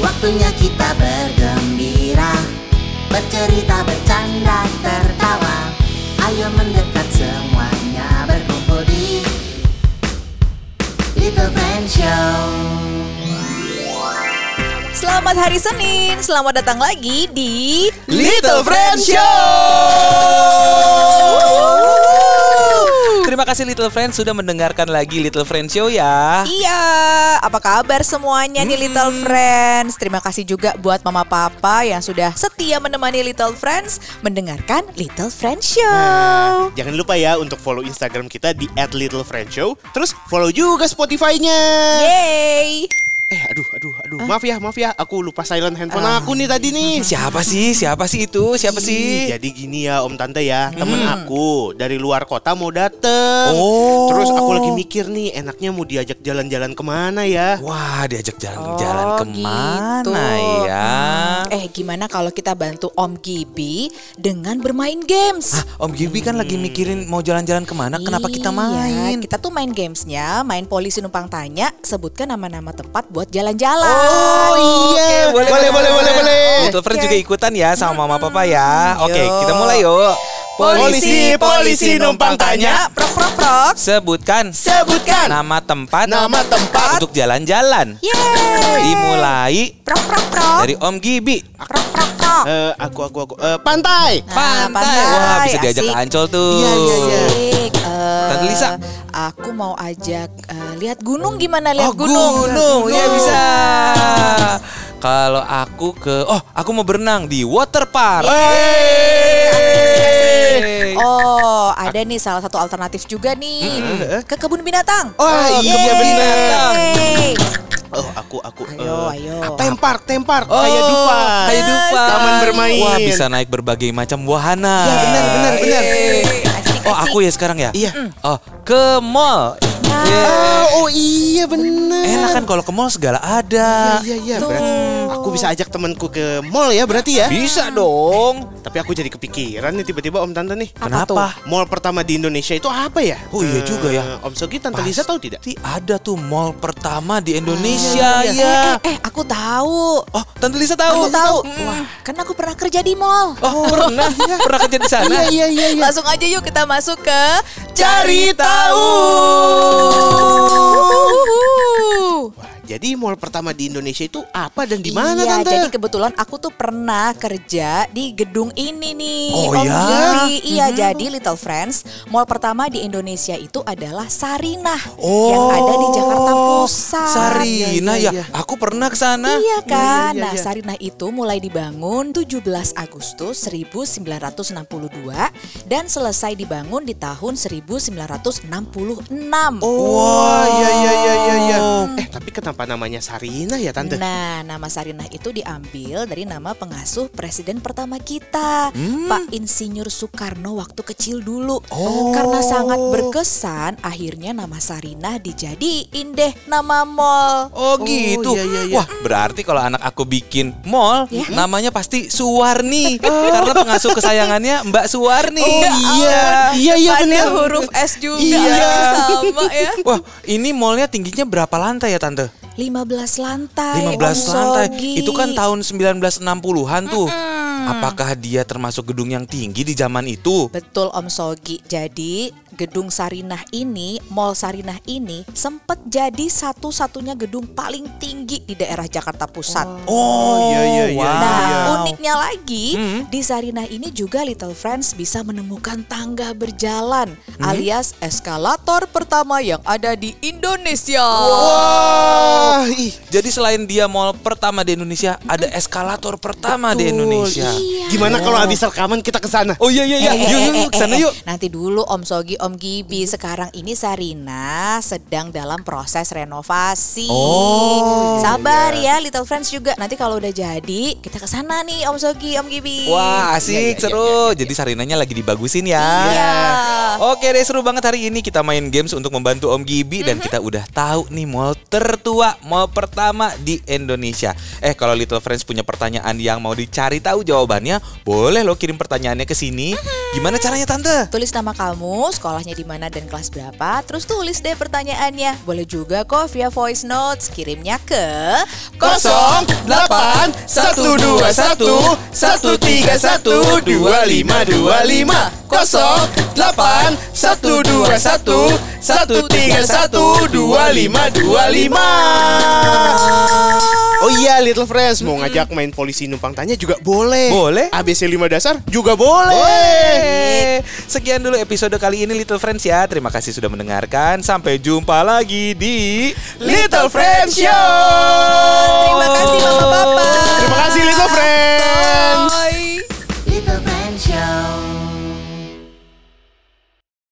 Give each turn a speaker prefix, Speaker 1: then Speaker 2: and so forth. Speaker 1: Waktunya kita bergembira Bercerita, bercanda, tertawa Ayo mendekat semuanya Berkumpul di Little Friend Show
Speaker 2: Selamat hari Senin, selamat datang lagi di
Speaker 3: Little Friend Show. Terima kasih Little Friends sudah mendengarkan lagi Little Friends Show ya.
Speaker 2: Iya, apa kabar semuanya
Speaker 3: Hmm.
Speaker 2: nih Little Friends? Terima kasih juga buat Mama Papa yang sudah setia menemani Little Friends mendengarkan Little Friends
Speaker 3: Nah.
Speaker 2: Show.
Speaker 4: Jangan lupa ya untuk follow Instagram kita di @littlefriendshow. Terus follow juga Spotify-nya.
Speaker 2: Yeay.
Speaker 4: Eh, aduh, aduh, aduh. Maaf ya, maaf ya. Aku lupa silent handphone aku nih tadi nih.
Speaker 3: Ah. Siapa sih? Siapa sih itu? Siapa sih? Hmm.
Speaker 4: Jadi gini ya Om Tante ya, temen aku dari luar kota mau dateng.
Speaker 3: Oh.
Speaker 4: Terus aku lagi mikir nih, enaknya mau diajak jalan-jalan kemana ya?
Speaker 3: Wah, diajak jalan-jalan
Speaker 2: Oh,
Speaker 3: kemana
Speaker 2: gitu.
Speaker 3: ya?
Speaker 2: Hmm. Eh, gimana kalau kita bantu Om Gibi dengan bermain games?
Speaker 3: Hah, Om Gibi kan lagi mikirin mau jalan-jalan kemana? Nah, Kenapa kita
Speaker 2: Iya,
Speaker 3: main?
Speaker 2: Kita tuh main gamesnya, main polisi numpang tanya, sebutkan nama-nama tempat buat jalan-jalan.
Speaker 3: Oh iya,
Speaker 4: boleh, boleh, boleh, boleh, boleh.
Speaker 3: Little
Speaker 2: Oke.
Speaker 3: Friends juga ikutan ya sama Mama Papa ya. Oke,
Speaker 2: Yuk.
Speaker 3: kita mulai yuk.
Speaker 4: Polisi, polisi numpang tanya.
Speaker 2: prok prok prok.
Speaker 3: Sebutkan
Speaker 4: Sebutkan
Speaker 3: nama tempat
Speaker 4: Nama tempat.
Speaker 3: untuk jalan-jalan.
Speaker 2: Yeay.
Speaker 3: Dimulai
Speaker 2: Prok prok prok.
Speaker 3: dari Om Gibi.
Speaker 2: prok prok prok.
Speaker 4: Eh, aku, aku, aku. Eh, pantai.
Speaker 2: Ah,
Speaker 3: Pantai. Wah, bisa diajak
Speaker 2: asik.
Speaker 3: ke Ancol tuh.
Speaker 2: Iya, iya, iya. Asik. Eh,
Speaker 3: Tante Lisa.
Speaker 2: Aku mau ajak eh, lihat gunung gimana lihat
Speaker 3: Oh, gunung.
Speaker 2: Gunung.
Speaker 3: Ya bisa. Kalau aku ke Oh, aku mau berenang di water park. Yeay.
Speaker 2: Oh, ada nih salah satu alternatif juga nih ke kebun binatang.
Speaker 4: Wah, iya,
Speaker 3: Mm-hmm. kebun
Speaker 2: yeay.
Speaker 3: binatang.
Speaker 4: Oh, aku, aku.
Speaker 2: Ayo,
Speaker 4: eh,
Speaker 2: ayo.
Speaker 4: Tempar, tempar.
Speaker 3: Oh,
Speaker 4: Kayak Dufan.
Speaker 3: Kayak Dufan.
Speaker 4: Taman bermain.
Speaker 3: Wah, bisa naik berbagai macam wahana.
Speaker 4: Iya, benar, benar, benar.
Speaker 3: Yeay.
Speaker 2: Asik,
Speaker 3: Oh,
Speaker 2: asik.
Speaker 3: aku ya sekarang ya?
Speaker 4: Iya.
Speaker 3: Oh, ke mall. Yeay.
Speaker 4: Ah, oh iya bener.
Speaker 3: Enak kan kalau ke mall segala ada.
Speaker 4: Iya iya iya. Berarti aku bisa ajak temanku ke mall ya berarti ya.
Speaker 3: Bisa dong.
Speaker 4: Tapi aku jadi kepikiran nih tiba-tiba Om Tante nih.
Speaker 2: Apa tuh?
Speaker 3: Kenapa?
Speaker 4: Mall pertama di Indonesia itu apa ya?
Speaker 3: Oh, iya
Speaker 4: Eh,
Speaker 3: juga ya.
Speaker 4: Om Sogi Tante
Speaker 3: Pasti
Speaker 4: Lisa tahu tidak? Ah, iya,
Speaker 3: ada tuh mall pertama di Indonesia
Speaker 2: Eh,
Speaker 3: ya.
Speaker 2: Eh, eh, aku tahu.
Speaker 3: Oh, Tante Lisa
Speaker 2: Aku
Speaker 3: tahu.
Speaker 2: tahu. Wah, karena aku pernah kerja di mall.
Speaker 3: Oh, pernah pernah kerja di sana.
Speaker 4: iya iya
Speaker 2: Langsung aja yuk kita masuk ke
Speaker 3: Cari tahu.
Speaker 2: Uhuhu.
Speaker 4: Wah, jadi mall pertama di Indonesia itu apa dan di mana
Speaker 2: iya,
Speaker 4: Tante?
Speaker 2: Jadi kebetulan aku tuh pernah kerja di gedung ini nih.
Speaker 3: Oh,
Speaker 2: Om
Speaker 3: ya?
Speaker 2: Giri. Iya,
Speaker 4: Mm-hmm.
Speaker 2: jadi Little Friends, mall pertama di Indonesia itu adalah Sarinah
Speaker 3: Oh.
Speaker 2: yang ada di Jakarta Pusat.
Speaker 3: Sarina ya,
Speaker 4: Iya, iya, iya.
Speaker 3: aku pernah ke sana.
Speaker 2: Iya kan?
Speaker 4: iya,
Speaker 2: Nah,
Speaker 4: iya.
Speaker 2: Sarinah itu mulai dibangun 17 Agustus 1962 dan selesai dibangun di tahun 1966.
Speaker 3: Oh.
Speaker 4: Wah, iya iya iya iya iya. Eh, tapi kenapa namanya Sarina ya Tante?
Speaker 2: Nah, nama Sarinah itu diambil dari nama pengasuh presiden pertama kita, Pak Insinyur Soekarno waktu kecil dulu. Karena sangat berkesan, akhirnya nama Sarinah dijadiin deh nama mall.
Speaker 3: Oh gitu.
Speaker 4: iya, iya, iya.
Speaker 3: Wah, berarti kalau anak aku bikin mall, namanya pasti Suwarni. Karena pengasuh kesayangannya Mbak Suwarni.
Speaker 4: Oh, iya. Iya iya
Speaker 2: Ada
Speaker 4: benar.
Speaker 2: huruf S juga
Speaker 4: Iya.
Speaker 2: sama ya.
Speaker 3: Wah, ini mallnya tingginya berapa lantai ya, Tante?
Speaker 2: 15 lantai.
Speaker 3: 15
Speaker 2: Om
Speaker 3: lantai.
Speaker 2: Sogi.
Speaker 3: Itu kan tahun 1960-an tuh. Apakah dia termasuk gedung yang tinggi di zaman itu?
Speaker 2: Betul Om Sogi. Jadi gedung Sarinah ini, Mall Sarinah ini sempat jadi satu-satunya gedung paling tinggi di daerah Jakarta Pusat.
Speaker 3: Oh,
Speaker 4: iya, iya, iya,
Speaker 3: wow.
Speaker 2: Nah, uniknya lagi
Speaker 3: Hmm.
Speaker 2: di Sarinah ini juga Little Friends bisa menemukan tangga berjalan
Speaker 3: Hmm.
Speaker 2: alias eskalator pertama yang ada di Indonesia.
Speaker 4: Wah, Ah, ih.
Speaker 3: Jadi selain dia mall pertama di Indonesia, ada eskalator pertama di Indonesia.
Speaker 4: Gimana kalau habis rekaman kita ke sana?
Speaker 3: Oh iya iya
Speaker 2: Iya.
Speaker 3: iya,
Speaker 2: Eh, eh,
Speaker 3: yuk yuk
Speaker 2: eh,
Speaker 3: yuk kesana
Speaker 2: eh, eh.
Speaker 3: yuk.
Speaker 2: Nanti dulu Om Sogi, Om Gibi.
Speaker 3: Hmm.
Speaker 2: Sekarang ini Sarina sedang dalam proses renovasi.
Speaker 3: Oh,
Speaker 2: Sabar ya Little Friends juga. Nanti kalau udah jadi, kita ke sana nih Om Sogi, Om Gibi.
Speaker 3: Wah asik seru. Jadi Sarinanya lagi dibagusin ya.
Speaker 2: Iya.
Speaker 3: Oke deh seru banget hari ini kita main games untuk membantu Om Gibi
Speaker 2: Mm-hmm.
Speaker 3: dan kita udah tahu nih mall tertua mall pertama di Indonesia. Eh kalau Little Friends punya pertanyaan yang mau dicari
Speaker 2: Mm-hmm.
Speaker 3: tahu jawabannya, boleh lo kirim pertanyaannya ke sini. Gimana caranya tante?
Speaker 2: Tulis nama kamu, sekolah sekolahnya di mana dan kelas berapa. Terus tulis deh pertanyaannya. Boleh juga kok via voice notes. Kirimnya ke
Speaker 4: 08 Oh iya Little Friends Mau ngajak main polisi numpang tanya juga boleh
Speaker 3: Boleh.
Speaker 4: ABC 5 dasar juga boleh
Speaker 3: Boleh. Sekian dulu episode kali ini Little Friends ya. Terima kasih sudah mendengarkan. Sampai jumpa lagi di
Speaker 4: Little Friends Show
Speaker 2: Terima kasih Bapak-bapak.
Speaker 4: Terima kasih Little Friends